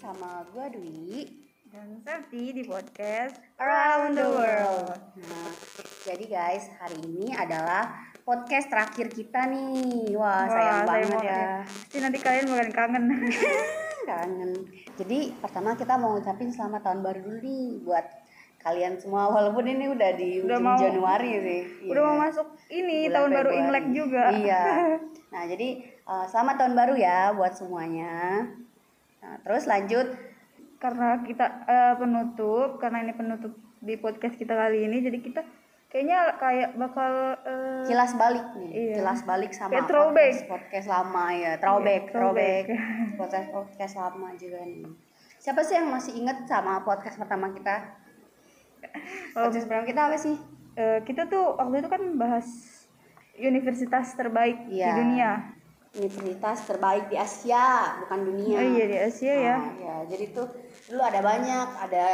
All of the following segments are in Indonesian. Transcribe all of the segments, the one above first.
Nabila Dwi dan Santi di podcast Around the World. Nah, jadi guys, hari ini adalah podcast terakhir kita nih. Wah, Wah, sayang sayang banget banget ya. Iya. ya. Pasti nanti kalian bakalan kangen. Kangen. Jadi pertama kita mau ngucapin selamat tahun baru dulu nih buat kalian semua. Walaupun ini udah di Udah mau- ujung Januari sih. Udah Iya. mau masuk ini Bulan tahun baru Februari. Imlek juga. Iya. Nah, jadi eh, selamat tahun baru ya buat semuanya. Nah, terus lanjut karena kita eh, penutup, karena ini penutup di podcast kita kali ini jadi kita kayaknya kayak bakal eh, kilas balik nih Iya. kilas balik sama Kayak throwback. podcast podcast lama ya throwback Iya, throwback throwback. podcast podcast lama juga nih siapa sih yang masih inget sama podcast pertama kita Oh. podcast pertama kita apa sih eh, kita tuh waktu itu kan bahas universitas terbaik di Iya. dunia. universitas terbaik di Asia bukan dunia Oh iya di Asia ya. Nah, ya jadi tuh dulu ada banyak ada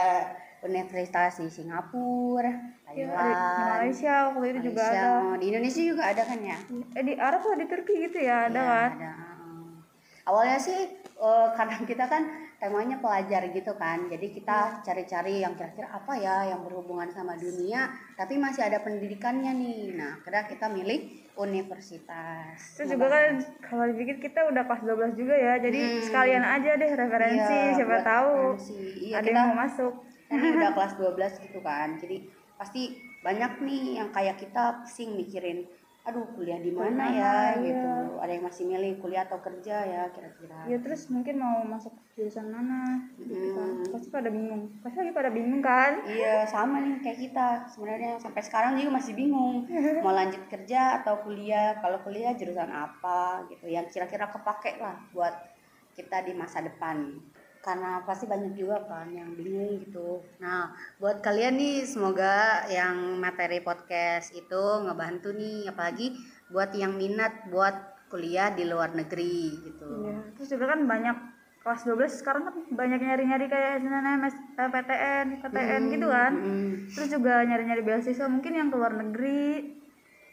universitas di Singapura Iya, Thailand di Malaysia waktu itu juga Ah, Malaysia. oh, ada. di Indonesia juga ada kan ya Eh, di Arab atau di Turki gitu ya ada Iya, kan? ada. Awalnya sih eh, karena kita kan temanya pelajar gitu kan, jadi Iya. kita cari-cari yang kira-kira apa ya yang berhubungan sama dunia, tapi masih ada pendidikannya nih. Nah, akhirnya kita milih universitas. Terus juga kan kalau dipikir kita udah kelas 12 juga ya. Jadi Hmm. sekalian aja deh referensi Iya, siapa buat tahu referensi. Iya, ada kita yang mau masuk. kan ini udah kelas 12 gitu kan, jadi pasti banyak nih yang kayak kita pusing mikirin, aduh kuliah di mana ya Kuliah, iya. gitu. Ada yang masih milih kuliah atau kerja ya kira-kira. Ya terus mungkin mau masuk jurusan mana gitu kan. Hmm. Pasti pada bingung. Pasti lagi pada bingung kan? Iya sama nih kayak kita sebenarnya sampai sekarang juga masih bingung mau lanjut kerja atau kuliah kalau kuliah jurusan apa gitu yang kira-kira kepake lah buat kita di masa depan karena pasti banyak juga kan yang bingung gitu nah buat kalian nih semoga yang materi podcast itu ngebantu nih apalagi buat yang minat buat kuliah di luar negeri gitu Iya. Terus juga kan banyak kelas 12 sekarang kan banyak nyari-nyari kayak SNMS, eh, PTN, PTN gitu kan. Mm-mm. Terus juga nyari-nyari beasiswa mungkin yang ke luar negeri.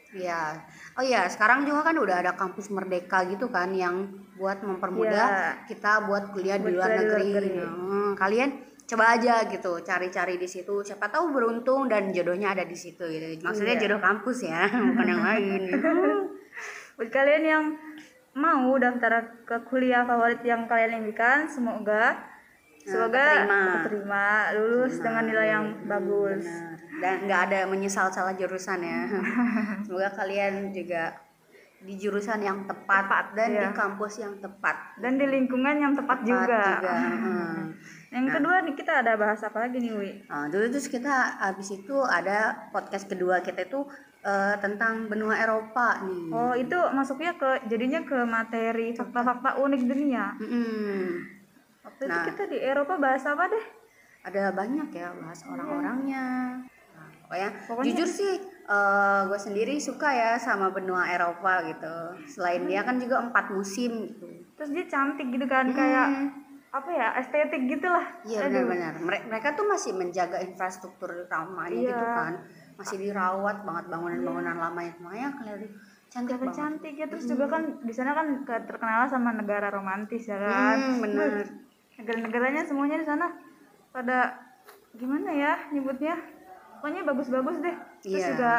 Ya, oh ya sekarang juga kan udah ada kampus merdeka gitu kan yang buat mempermudah kita buat kuliah Iya. di Buat luar kuliah di luar negeri. negeri. Hmm, kalian coba aja gitu, cari-cari di situ. Siapa tahu beruntung dan jodohnya ada di situ. Gitu. Maksudnya Iya. jodoh kampus ya, bukan yang lain. Buat kalian yang mau daftar ke kuliah favorit yang kalian impikan, semoga semoga Nah, keterima. keterima, lulus dengan nilai yang bagus. Benar. Dan nggak ada menyesal salah jurusan ya. Semoga kalian juga di jurusan yang tepat, dan di iya. kampus yang tepat. Dan di lingkungan yang tepat, Tepat juga. Hmm. Yang kedua nih kita ada bahas apa lagi nih, Wi? Nah, dulu terus kita habis itu ada podcast kedua kita itu eh, tentang benua Eropa nih. Oh, itu masuknya ke jadinya ke materi fakta-fakta unik dunia. Mm-mm. Waktu Nah. itu kita di Eropa bahas apa deh? Ada banyak ya bahas orang-orangnya. Nah, pokoknya, Pokoknya- jujur sih gue sendiri suka ya sama benua Eropa gitu. Selain dia kan juga empat musim gitu. Terus dia cantik gitu kan kayak apa ya? Estetik gitulah. Hmm. Iya benar-benar. Mere- Mereka tuh masih menjaga infrastruktur ramanya Iya. gitu kan. Masih dirawat banget bangunan-bangunan lamanya. Makanya kelihatan cantik Kelihatan banget. cantik ya terus juga kan di sana kan ke- terkenal sama negara romantis ya kan. Hmm, benar. Negara-negaranya semuanya di sana pada gimana ya nyebutnya? Pokoknya bagus-bagus deh. Terus Iya. juga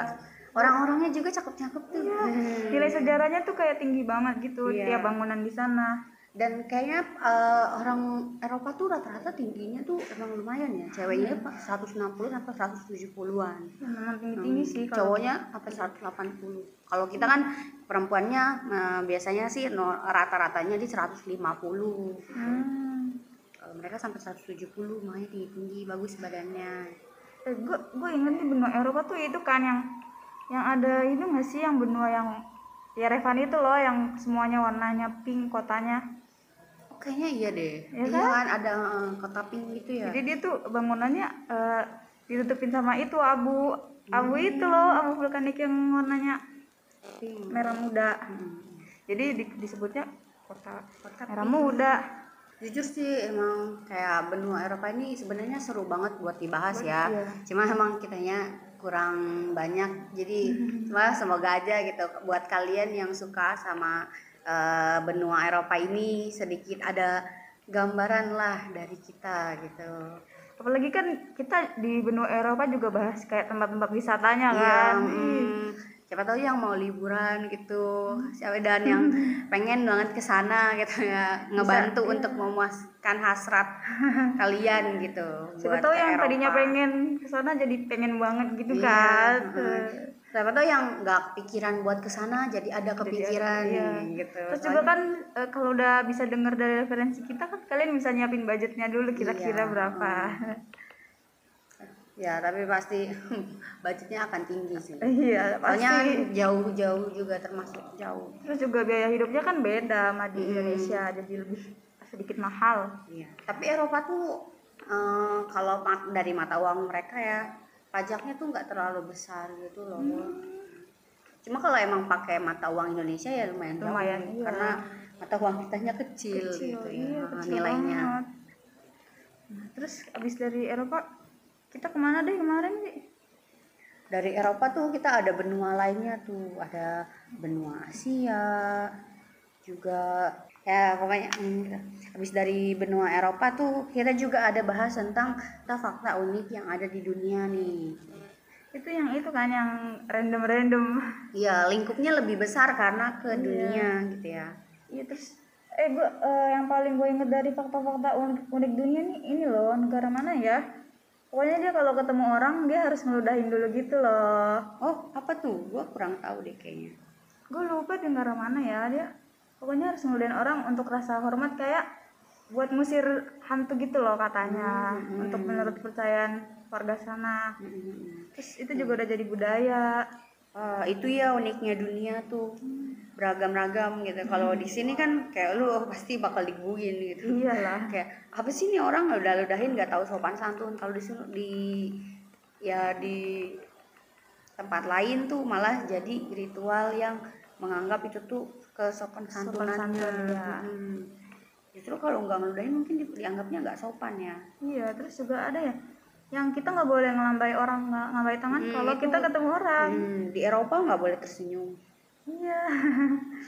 Orang-orangnya juga cakep-cakep tuh. Iya. Hmm. nilai sejarahnya tuh kayak tinggi banget gitu Iya. tiap bangunan di sana. Dan kayaknya eh, orang Eropa tuh rata-rata tingginya tuh emang lumayan ya. Ceweknya Iya. 160 sampai 170-an. Nah, Memang tinggi-tinggi Mm, sih kalau Hmm, Cowoknya sampai 180. Kalau kita kan perempuannya eh, biasanya sih no- rata-ratanya di 150. Hmm. Eh, mereka sampai 170 makanya tinggi, tinggi bagus badannya. Eh, gue gue inget nih benua Eropa tuh itu kan yang yang ada itu nggak sih yang benua yang ya Revan itu loh yang semuanya warnanya pink kotanya. Oh, kayaknya iya deh. Iya iya kan ada eh, kota pink gitu ya. Jadi dia tuh bangunannya eh, ditutupin sama itu abu abu itu loh abu vulkanik yang warnanya Pink. merah muda. Mm. Jadi di- disebutnya kota Kota merah muda. Jujur sih emang kayak benua Eropa ini sebenarnya seru banget buat dibahas ya. Iya. Cuma emang kitanya kurang banyak. Jadi wah semoga aja gitu buat kalian yang suka sama eh, benua Eropa ini sedikit ada gambaran lah dari kita gitu. apalagi kan kita di benua Eropa juga bahas kayak tempat-tempat wisatanya Iya, kan Ih, mm, siapa tahu yang mau liburan gitu, siapa dan yang pengen banget ke sana gitu ya, ngebantu iya. untuk memuaskan hasrat kalian gitu. siapa buat tahu ke yang tadinya Eropa. pengen kesana jadi pengen banget gitu Iya, kan heeh. Siapa tahu yang nggak kepikiran buat ke sana jadi ada kepikiran iya. gitu. terus juga kan eh, kalau udah bisa dengar dari referensi kita kan kalian bisa nyiapin budgetnya dulu kira-kira Iya, berapa Ya, tapi pasti budgetnya akan tinggi sih. iya pasti Soalnya jauh-jauh juga termasuk jauh. terus juga biaya hidupnya kan beda sama di Indonesia jadi lebih sedikit mahal Iya. Tapi Eropa tuh eh, kalau ma- dari mata uang mereka ya pajaknya tuh nggak terlalu besar gitu loh. Hmm. Cuma kalau emang pakai mata uang Indonesia ya lumayan, jauh, Lumayan, iya. karena mata uang kitanya kecil, gitu ya iya, kecil nilainya. banget. Nah, terus abis dari Eropa kita kemana deh kemarin sih Dari Eropa tuh kita ada benua lainnya tuh, ada benua Asia juga ya pokoknya hmm, gitu. habis dari benua Eropa tuh kita juga ada bahas tentang fakta unik yang ada di dunia nih. itu yang itu kan yang random-random Iya, lingkupnya lebih besar karena ke dunia gitu ya. iya terus eh gua eh, yang paling gue inget dari fakta-fakta unik, unik dunia nih ini loh negara mana ya pokoknya dia kalau ketemu orang dia harus ngeludahin dulu gitu loh Oh, apa tuh? Gua kurang tahu deh kayaknya. gue lupa di negara mana ya dia pokoknya harus ngeludahin orang untuk rasa hormat kayak buat ngusir hantu gitu loh katanya Hmm, untuk menurut percayaan warga sana terus itu juga udah jadi budaya Ah, itu ya uniknya dunia tuh beragam-ragam gitu. Kalau di sini kan kayak lu oh, pasti bakal diguguin gitu. iyalah Kayak apa sih nih orang udah ludahin nggak tahu sopan santun. Kalau di sini di ya di tempat lain tuh malah jadi ritual yang menganggap itu tuh kesopan santunan. santun, iya. Justru kalau nggak ngeludahin mungkin di- dianggapnya nggak sopan ya. iya terus juga ada ya yang kita nggak boleh ngelambai orang nggak ngelambai tangan kalau kita ketemu orang Hmm, di Eropa nggak boleh tersenyum. iya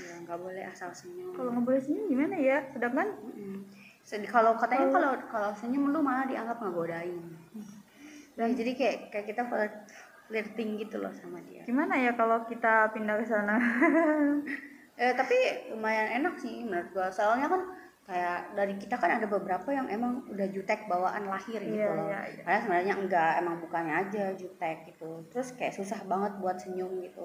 Ya, nggak boleh asal senyum. kalau nggak boleh senyum gimana ya sedangkan Mm-mm. Sed- Kalau katanya kalau kalau senyum lu malah dianggap ngegodain. Hmm. Dan jadi kayak kayak kita flirt- flirting gitu loh sama dia. gimana ya kalau kita pindah ke sana Eh, tapi lumayan enak sih menurut gua. Soalnya kan kayak dari kita kan ada beberapa yang emang udah jutek bawaan lahir gitu Iya, loh. iya, iya. Padahal sebenarnya enggak, emang bukannya aja jutek gitu. Terus kayak susah banget buat senyum gitu.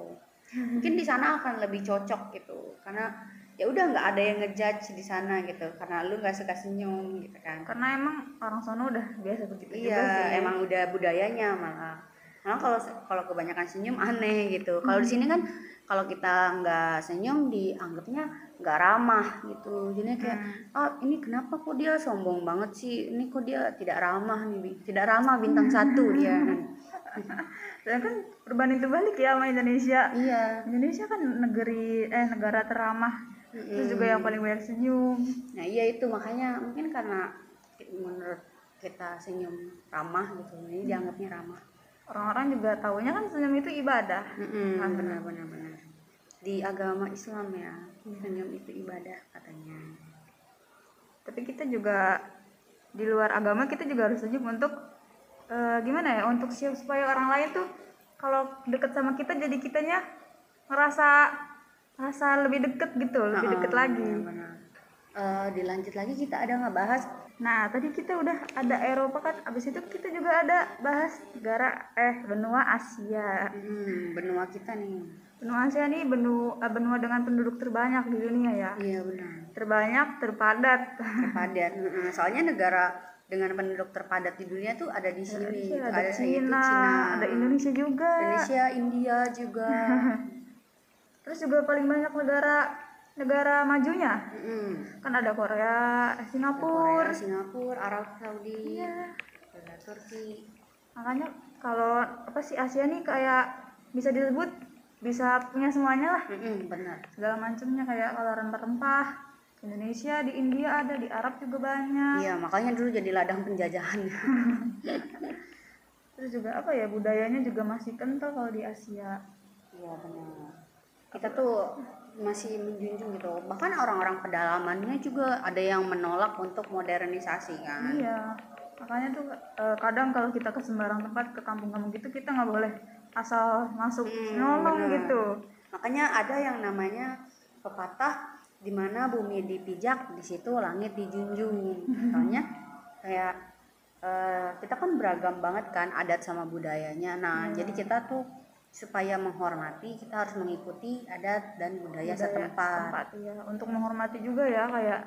Mungkin di sana akan lebih cocok gitu. Karena ya udah nggak ada yang ngejudge di sana gitu. Karena lu nggak suka senyum gitu kan. karena emang orang sono udah biasa begitu juga sih. Iya, emang udah budayanya malah. Malah kalau kalau kebanyakan senyum aneh gitu. Kalau di sini Hmm. kan kalau kita nggak senyum dianggapnya nggak ramah gitu. Jadi kayak Hmm. ah ini kenapa kok dia sombong banget sih? Ini kok dia tidak ramah nih, Bi- tidak ramah bintang Hmm. satu dia. Nah, Sedangkan perubahan itu balik kan ya sama Indonesia. iya. Indonesia kan negeri eh negara teramah. Terus juga yang paling banyak senyum. Nah, iya itu makanya mungkin karena menurut kita senyum ramah gitu. Ini Hmm. dianggapnya ramah. Orang-orang juga taunya kan senyum itu ibadah. Mm-mm, benar benar benar. Di agama Islam ya, senyum itu ibadah katanya. Tapi kita juga di luar agama kita juga harus senyum untuk eh, gimana ya? Untuk siap supaya orang lain tuh kalau deket sama kita jadi kitanya ngerasa ngerasa lebih deket gitu, lebih deket lagi. Benar benar. Eh, dilanjut lagi kita ada nggak bahas Nah, tadi kita udah ada Eropa kan, abis itu kita juga ada bahas negara eh benua Asia. mm, benua kita nih. Benua Asia nih benua, eh, benua dengan penduduk terbanyak di dunia ya. Iya benar. Terbanyak, terpadat. Terpadat. Mm-mm. Soalnya negara dengan penduduk terpadat di dunia tuh ada di sini. gitu. ada itu Cina, ada Indonesia juga. Indonesia, India juga. Terus juga paling banyak negara negara majunya. Mm-mm. Kan ada Korea, Singapura. Korea, Singapura, Arab Saudi, ada Turki. Makanya kalau apa sih Asia nih kayak bisa disebut bisa punya semuanya lah. Mm-mm, benar. segala macamnya kayak kalau rempah-rempah Indonesia di India ada di Arab juga banyak Iya, makanya dulu jadi ladang penjajahan. terus juga apa ya budayanya juga masih kental kalau di Asia Iya benar. Kita tuh masih menjunjung gitu bahkan orang-orang pedalamannya juga ada yang menolak untuk modernisasi kan Iya, makanya tuh eh, kadang kalau kita ke sembarang tempat ke kampung-kampung gitu kita nggak boleh asal masuk Hmm, ngomong benar. gitu. makanya ada yang namanya pepatah di mana bumi dipijak di situ langit dijunjung soalnya kayak eh, kita kan beragam banget kan adat sama budayanya nah jadi kita tuh supaya menghormati kita harus mengikuti adat dan budaya, Budaya setempat tempat, iya. Untuk menghormati juga ya kayak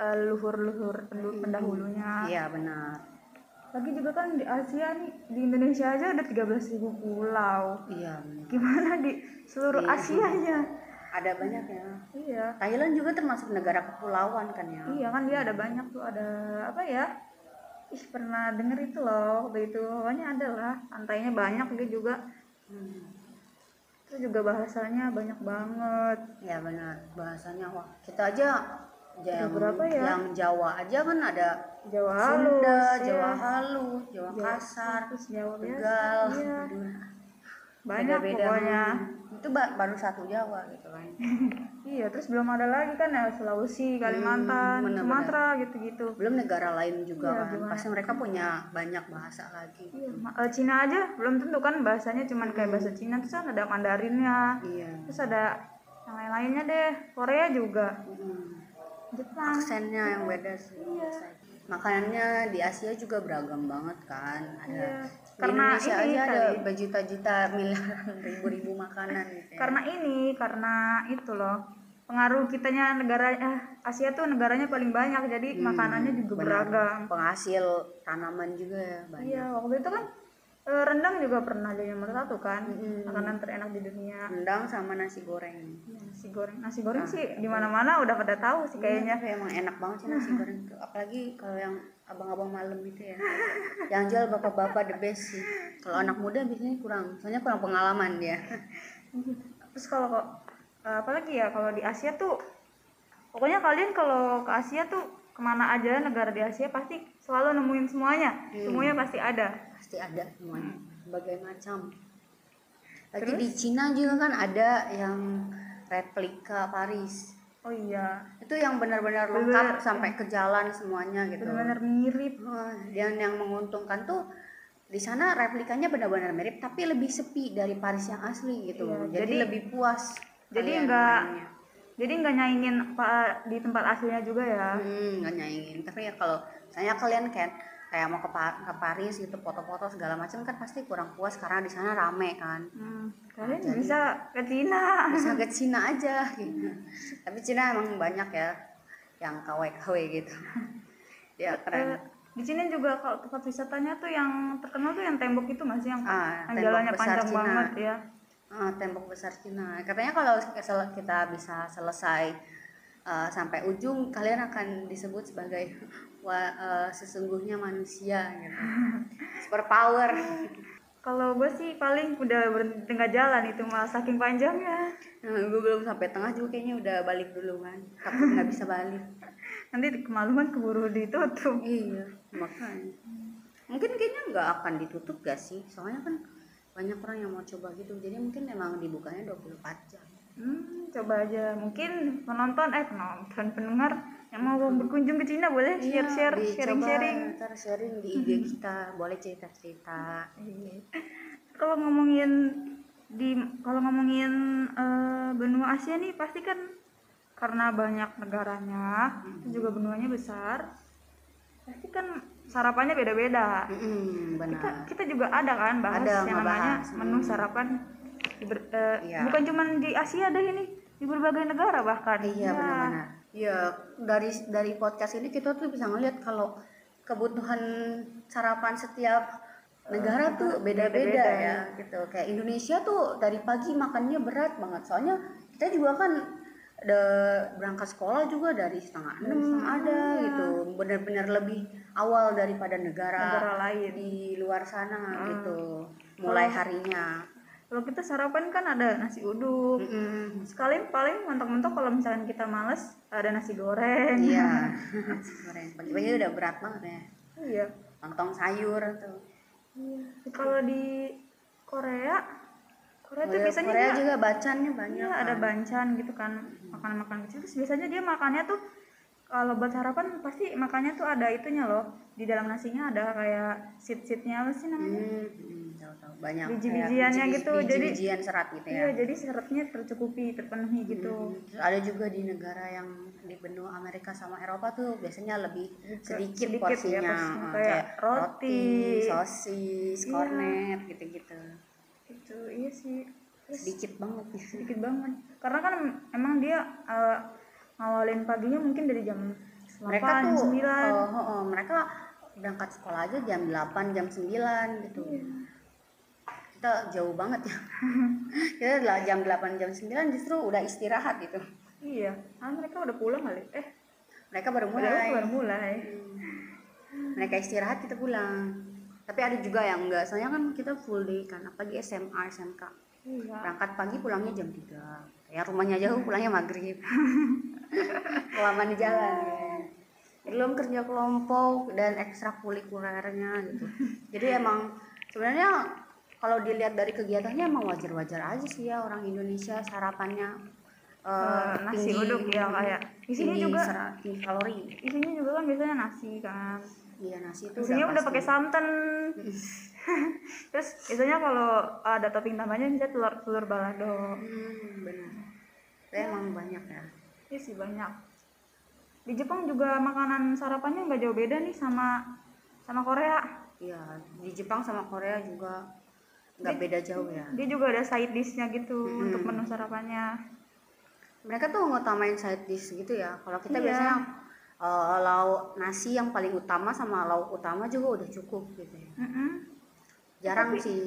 eh, leluhur-leluhur pendu- pendahulunya. Hmm. iya benar Lagi juga kan di Asia nih, di Indonesia aja ada 13.000 pulau. iya benar Gimana di seluruh Iya. Asianya? ada banyak ya Iya. Thailand juga termasuk negara kepulauan kan ya Iya kan dia ada banyak tuh ada apa ya? Ih pernah denger itu loh waktu itu pokoknya ada lah pantainya banyak dia juga Hmm. terus juga bahasanya banyak banget Ya benar bahasanya wah kita aja Ada yang berapa ya? yang Jawa aja kan ada Jawa halus, Sunda, ya. Jawa halus, Jawa Jawa kasar, halus, Jawa biasa, Tegal, iya. aduh, banyak beda-beda. pokoknya Hmm. Itu ba- baru satu Jawa gitu kan. iya terus belum ada lagi kan ya Sulawesi Hmm, Kalimantan bener-bener. Sumatera gitu-gitu Belum negara lain juga Iya, kan. gimana? Pasti mereka punya banyak bahasa lagi. iya ma- eh, Cina aja belum tentu kan bahasanya cuman Hmm. kayak bahasa Cina terus kan ada Mandarinnya Iya. terus ada yang lain-lainnya deh Korea juga Mm. Jepang Aksennya yang beda sih. Iya. Makanannya di Asia juga beragam banget kan. Iya. Ada di Karena Indonesia ini aja ada kali. berjuta-juta miliaran ribu-ribu makanan gitu. ya. karena ini karena itu loh pengaruh kitanya negara eh, Asia tuh negaranya paling banyak jadi makanannya juga Hmm, Benar. beragam Penghasil tanaman juga ya banyak. iya waktu itu kan eh, rendang juga pernah jadi nomor satu kan Mm-mm. Iya. makanan terenak di dunia Rendang sama nasi goreng. Ya, nasi goreng nasi goreng Nah, sih iya. di mana mana udah pada tahu sih kayaknya Kayaknya emang enak banget sih nasi goreng tuh. Apalagi kalau yang abang-abang malam gitu ya. yang jual bapak-bapak the best sih. Kalau anak muda biasanya kurang, soalnya kurang pengalaman dia. Iya. terus kalau kok apalagi ya kalau di Asia tuh pokoknya kalian kalau ke Asia tuh kemana aja negara di Asia pasti selalu nemuin semuanya Iya. semuanya pasti ada Pasti ada semuanya. Hmm. Berbagai macam. Lagi di Cina juga kan ada yang replika Paris. oh iya Itu yang benar-benar lengkap sampai ke jalan semuanya gitu. benar-benar mirip Wah, Dan yang menguntungkan tuh di sana replikanya benar-benar mirip tapi lebih sepi dari Paris yang asli gitu. Iya, jadi, jadi- lebih puas. jadi kalian nggak- mainnya. Jadi nggak nyaingin apa di tempat aslinya juga ya. Hmm, nggak nyaingin. Tapi ya kalau misalnya kalian kan kayak mau ke, Pa- ke Paris gitu foto-foto segala macam kan pasti kurang puas karena di sana rame kan. Hmm, kalian bisa ke Cina. Bisa ke Cina aja gitu. tapi Cina emang banyak ya yang KW-KW gitu. ya Eh, keren. di Cina juga kalau tempat wisatanya tuh yang terkenal tuh yang tembok itu masih yang, Ah, yang tembok jalannya besar panjang Cina. banget ya. Ah, tembok besar Cina. Katanya kalau sel- kita bisa selesai eh, sampai ujung, kalian akan disebut sebagai wa- eh, sesungguhnya manusia gitu. Super power. Kalau gue sih paling udah berhenti tengah jalan itu malah saking panjangnya. Nah, gue belum sampai tengah juga kayaknya udah balik dulu kan. Takut nggak bisa balik. Nanti kemaluan keburu ditutup. Iya, makanya. Mungkin kayaknya nggak akan ditutup gak sih? Soalnya kan banyak orang yang mau coba gitu. Jadi mungkin emang dibukanya 24 jam. Hmm, coba aja mungkin penonton eh penonton pendengar yang mau berkunjung ke Cina boleh Iya, share-share, dicoba. sharing-sharing. Ntar sharing di IG kita, boleh cerita-cerita. Iya. Kalau ngomongin di kalau ngomongin eh, benua Asia nih pasti kan karena banyak negaranya, terus juga benuanya besar. Pasti kan sarapannya beda-beda. Kita, Mm, benar. kita juga ada kan bahas Ada, yang namanya ngebahas. menu sarapan di ber- eh, Iya. bukan cuma di Asia deh ini, di berbagai negara bahkan. Iya Ya. benar-benar. Iya dari dari podcast ini kita tuh bisa ngeliat kalau kebutuhan sarapan setiap negara tuh Iya, beda-beda beda-beda. ya gitu. Kayak Indonesia tuh dari pagi makannya berat banget. Soalnya kita juga kan de- berangkat sekolah juga dari setengah enam ada gitu. Benar-benar lebih awal daripada Negara negara, lain. di luar sana gitu. Mulai harinya. Kalau kita sarapan kan ada nasi Hmm. uduk. Mm-mm. Sekalian paling mentok-mentok kalau misalkan kita males ada nasi goreng. Iya. Kemarin pagi-pagi udah berat banget ya. Iya. Iya, lontong sayur tuh Kalau di Korea Korea tuh Budaya biasanya Korea dia- juga bacannya banyak. Iya, ada kan. bancan gitu kan makanan-makanan kecil terus biasanya dia makannya tuh kalau buat sarapan pasti makannya tuh ada itunya loh di dalam nasinya ada kayak seed-seednya apa sih namanya Hmm, hmm, tahu-tahu banyak. Biji-bijiannya kayak gitu, biji- jadi- biji-bijian serat gitu ya. iya jadi seratnya tercukupi terpenuhi gitu Hmm, Terus ada juga di negara yang di benua Amerika sama Eropa tuh biasanya lebih sedikit sedikit, ya porsinya, porsinya, Ah, kayak roti. sosis, Iya. kornet gitu-gitu. gitu iya sih terus Sedikit banget ya. sedikit banget karena kan emang dia eh, ngawalin paginya mungkin dari jam Mereka 8, tuh 9 oh, oh, oh, mereka berangkat sekolah aja jam 8, jam 9 gitu. Iya. Kita jauh banget ya. Kita lah jam 8, jam 9 justru udah istirahat gitu. iya ah, mereka udah pulang kali eh Mereka baru udah mulai. baru mulai mereka istirahat kita pulang tapi ada juga yang enggak soalnya kan kita full day kan apalagi SMA SMK iya berangkat pagi pulangnya jam 3 ya rumahnya jauh pulangnya maghrib lama di jalan ya. belum kerja kelompok dan ekstrakurikulernya gitu jadi emang sebenarnya kalau dilihat dari kegiatannya emang wajar-wajar aja sih ya orang Indonesia sarapannya eh, Eh, nasi uduk ya, kayak. Di sini tinggi juga- serat- tinggi kalori isinya juga kan biasanya nasi kan iya nasi itu isinya udah pasti. pakai santan terus biasanya kalau ada topping tambahnya bisa telur telur balado Hmm, benar. Saya emang banyak ya. iya sih banyak di Jepang juga makanan sarapannya nggak jauh beda nih sama sama Korea Iya, di Jepang sama Korea juga nggak beda jauh ya. dia juga ada side dishnya gitu Hmm. untuk menu sarapannya Mereka tuh ngutamain side dish gitu ya. Kalau kita Iya. biasanya eh, lauk nasi yang paling utama sama lauk utama juga udah cukup gitu ya. Mm-mm. Jarang Tapi- sih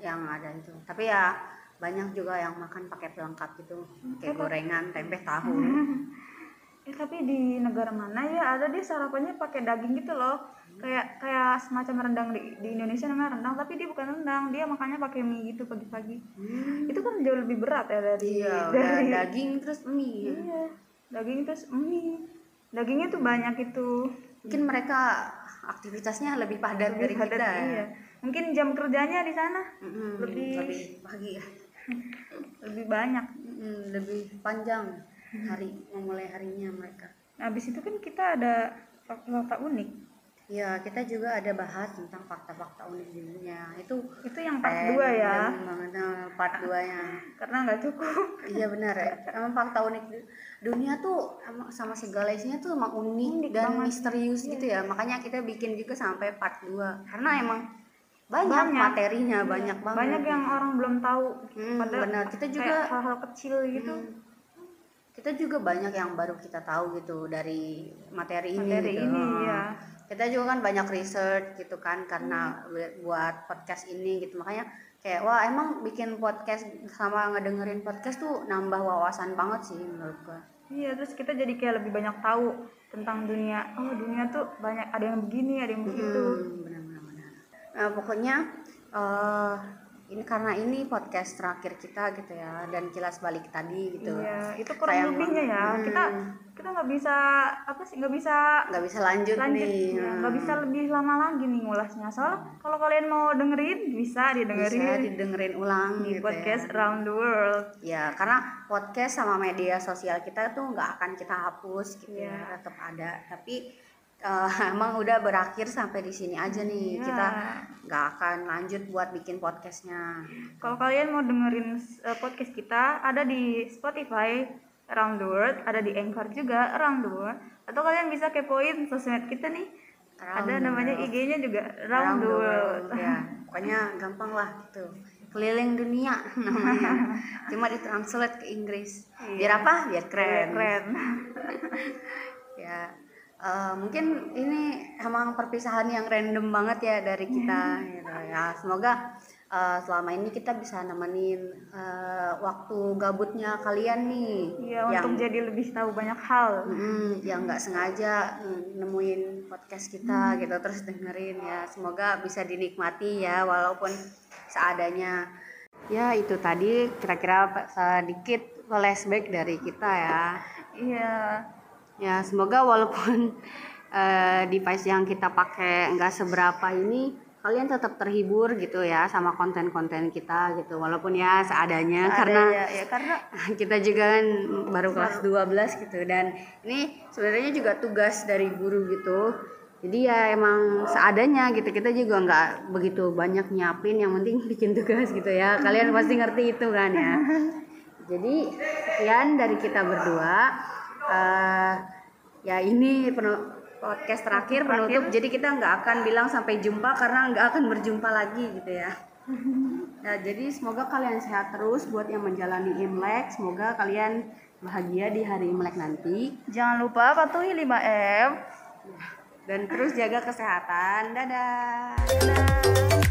yang ada itu. Tapi ya banyak juga yang makan pakai pelengkap gitu, kayak Tapi- gorengan, tempe, tahu. Eh, tapi di negara mana ya ada dia sarapannya pakai daging gitu loh kayak kayak semacam rendang di, di Indonesia namanya rendang tapi dia bukan rendang dia makannya pakai mie gitu pagi-pagi Hmm. itu kan jauh lebih berat ya dari Iya, udah dari daging terus mie. iya daging terus mie dagingnya tuh banyak itu Mungkin mereka aktivitasnya lebih padat dari Lebih padat, kita. ya. iya. mungkin jam kerjanya di sana Mm-mm, Lebih- lebih pagi ya. lebih banyak Mm-mm, lebih panjang hari memulai harinya mereka nah, habis itu kan kita ada fak- fakta unik ya kita juga ada bahas tentang fakta-fakta unik dunia itu itu yang Eh, part 2 ya panjang banget, nah, part 2 nya karena nggak cukup iya benar ya emang fakta unik du- dunia tuh emang sama segala isinya tuh emang unik, Unik banget. dan Iya. misterius gitu ya makanya kita bikin juga sampai part 2 karena emang banyak, Banyak. materinya banyak banget banyak yang orang belum tahu Hmm, benar. Kita kayak juga- hal-hal kecil gitu Hmm. kita juga banyak yang baru kita tahu gitu dari materi ini materi gitu. ini Nah, ya kita juga kan banyak research gitu kan karena Hmm. bu- buat podcast ini gitu makanya kayak wah emang bikin podcast sama ngedengerin podcast tuh nambah wawasan banget sih menurut gua Iya, terus kita jadi kayak lebih banyak tahu tentang dunia. Oh, dunia tuh banyak ada yang begini, ada yang begitu. Hmm, benar benar benar. Nah, pokoknya eh ini karena ini podcast terakhir kita gitu ya dan kilas balik tadi gitu Iya, itu kurang Sayang lebihnya ya. banget. Hmm. Kita kita nggak bisa apa sih? Nggak bisa nggak bisa lanjut, lanjut, nih ya, nggak Hmm. bisa lebih lama lagi nih ngulasnya. Soalnya kalau kalian mau dengerin bisa bisa didengerin didengerin ulang di gitu podcast ya. Round the World. Ya, karena podcast sama media sosial kita tuh nggak akan kita hapus gitu ya, Iya. tetap ada. Tapi eh, emang udah berakhir sampai di sini aja nih. Iya. Kita nggak akan lanjut buat bikin podcastnya. Kalau kalian mau dengerin eh, podcast kita ada di Spotify Round the World, ada di Anchor juga Round the World. Atau kalian bisa kepoin sosmed kita nih. Round ada the namanya world. IG-nya juga Round, Around the World. Ya, pokoknya gampang lah gitu. Keliling dunia namanya. Cuma ditranslate ke Inggris. Biar apa? Biar Keren. keren. ya eh, mungkin ini emang perpisahan yang random banget ya dari kita Hmm. gitu ya semoga eh, selama ini kita bisa nemenin eh, waktu gabutnya kalian nih Iya, yang untuk jadi lebih tahu banyak hal. Mm, yang nggak sengaja mm, nemuin podcast Hmm. kita gitu terus dengerin ya semoga bisa dinikmati ya walaupun seadanya ya itu tadi kira-kira eh, sedikit flashback dari kita ya Iya. Ya, semoga walaupun eh, device yang kita pakai nggak seberapa ini, kalian tetap terhibur gitu ya sama konten-konten kita gitu walaupun ya seadanya Ada karena ya, ya, karena kita juga kan baru kelas 12 gitu dan ini sebenarnya juga tugas dari guru gitu jadi ya emang seadanya gitu kita juga nggak begitu banyak nyiapin yang penting bikin tugas gitu ya kalian pasti ngerti itu kan ya jadi sekian dari kita berdua Eh, ya ini penu- podcast terakhir penutup jadi kita nggak akan bilang sampai jumpa karena nggak akan berjumpa lagi gitu ya Nah, jadi semoga kalian sehat terus buat yang menjalani Imlek. Semoga kalian bahagia di hari Imlek nanti. jangan lupa patuhi 5M Dan terus jaga kesehatan. Dadah! Dadah.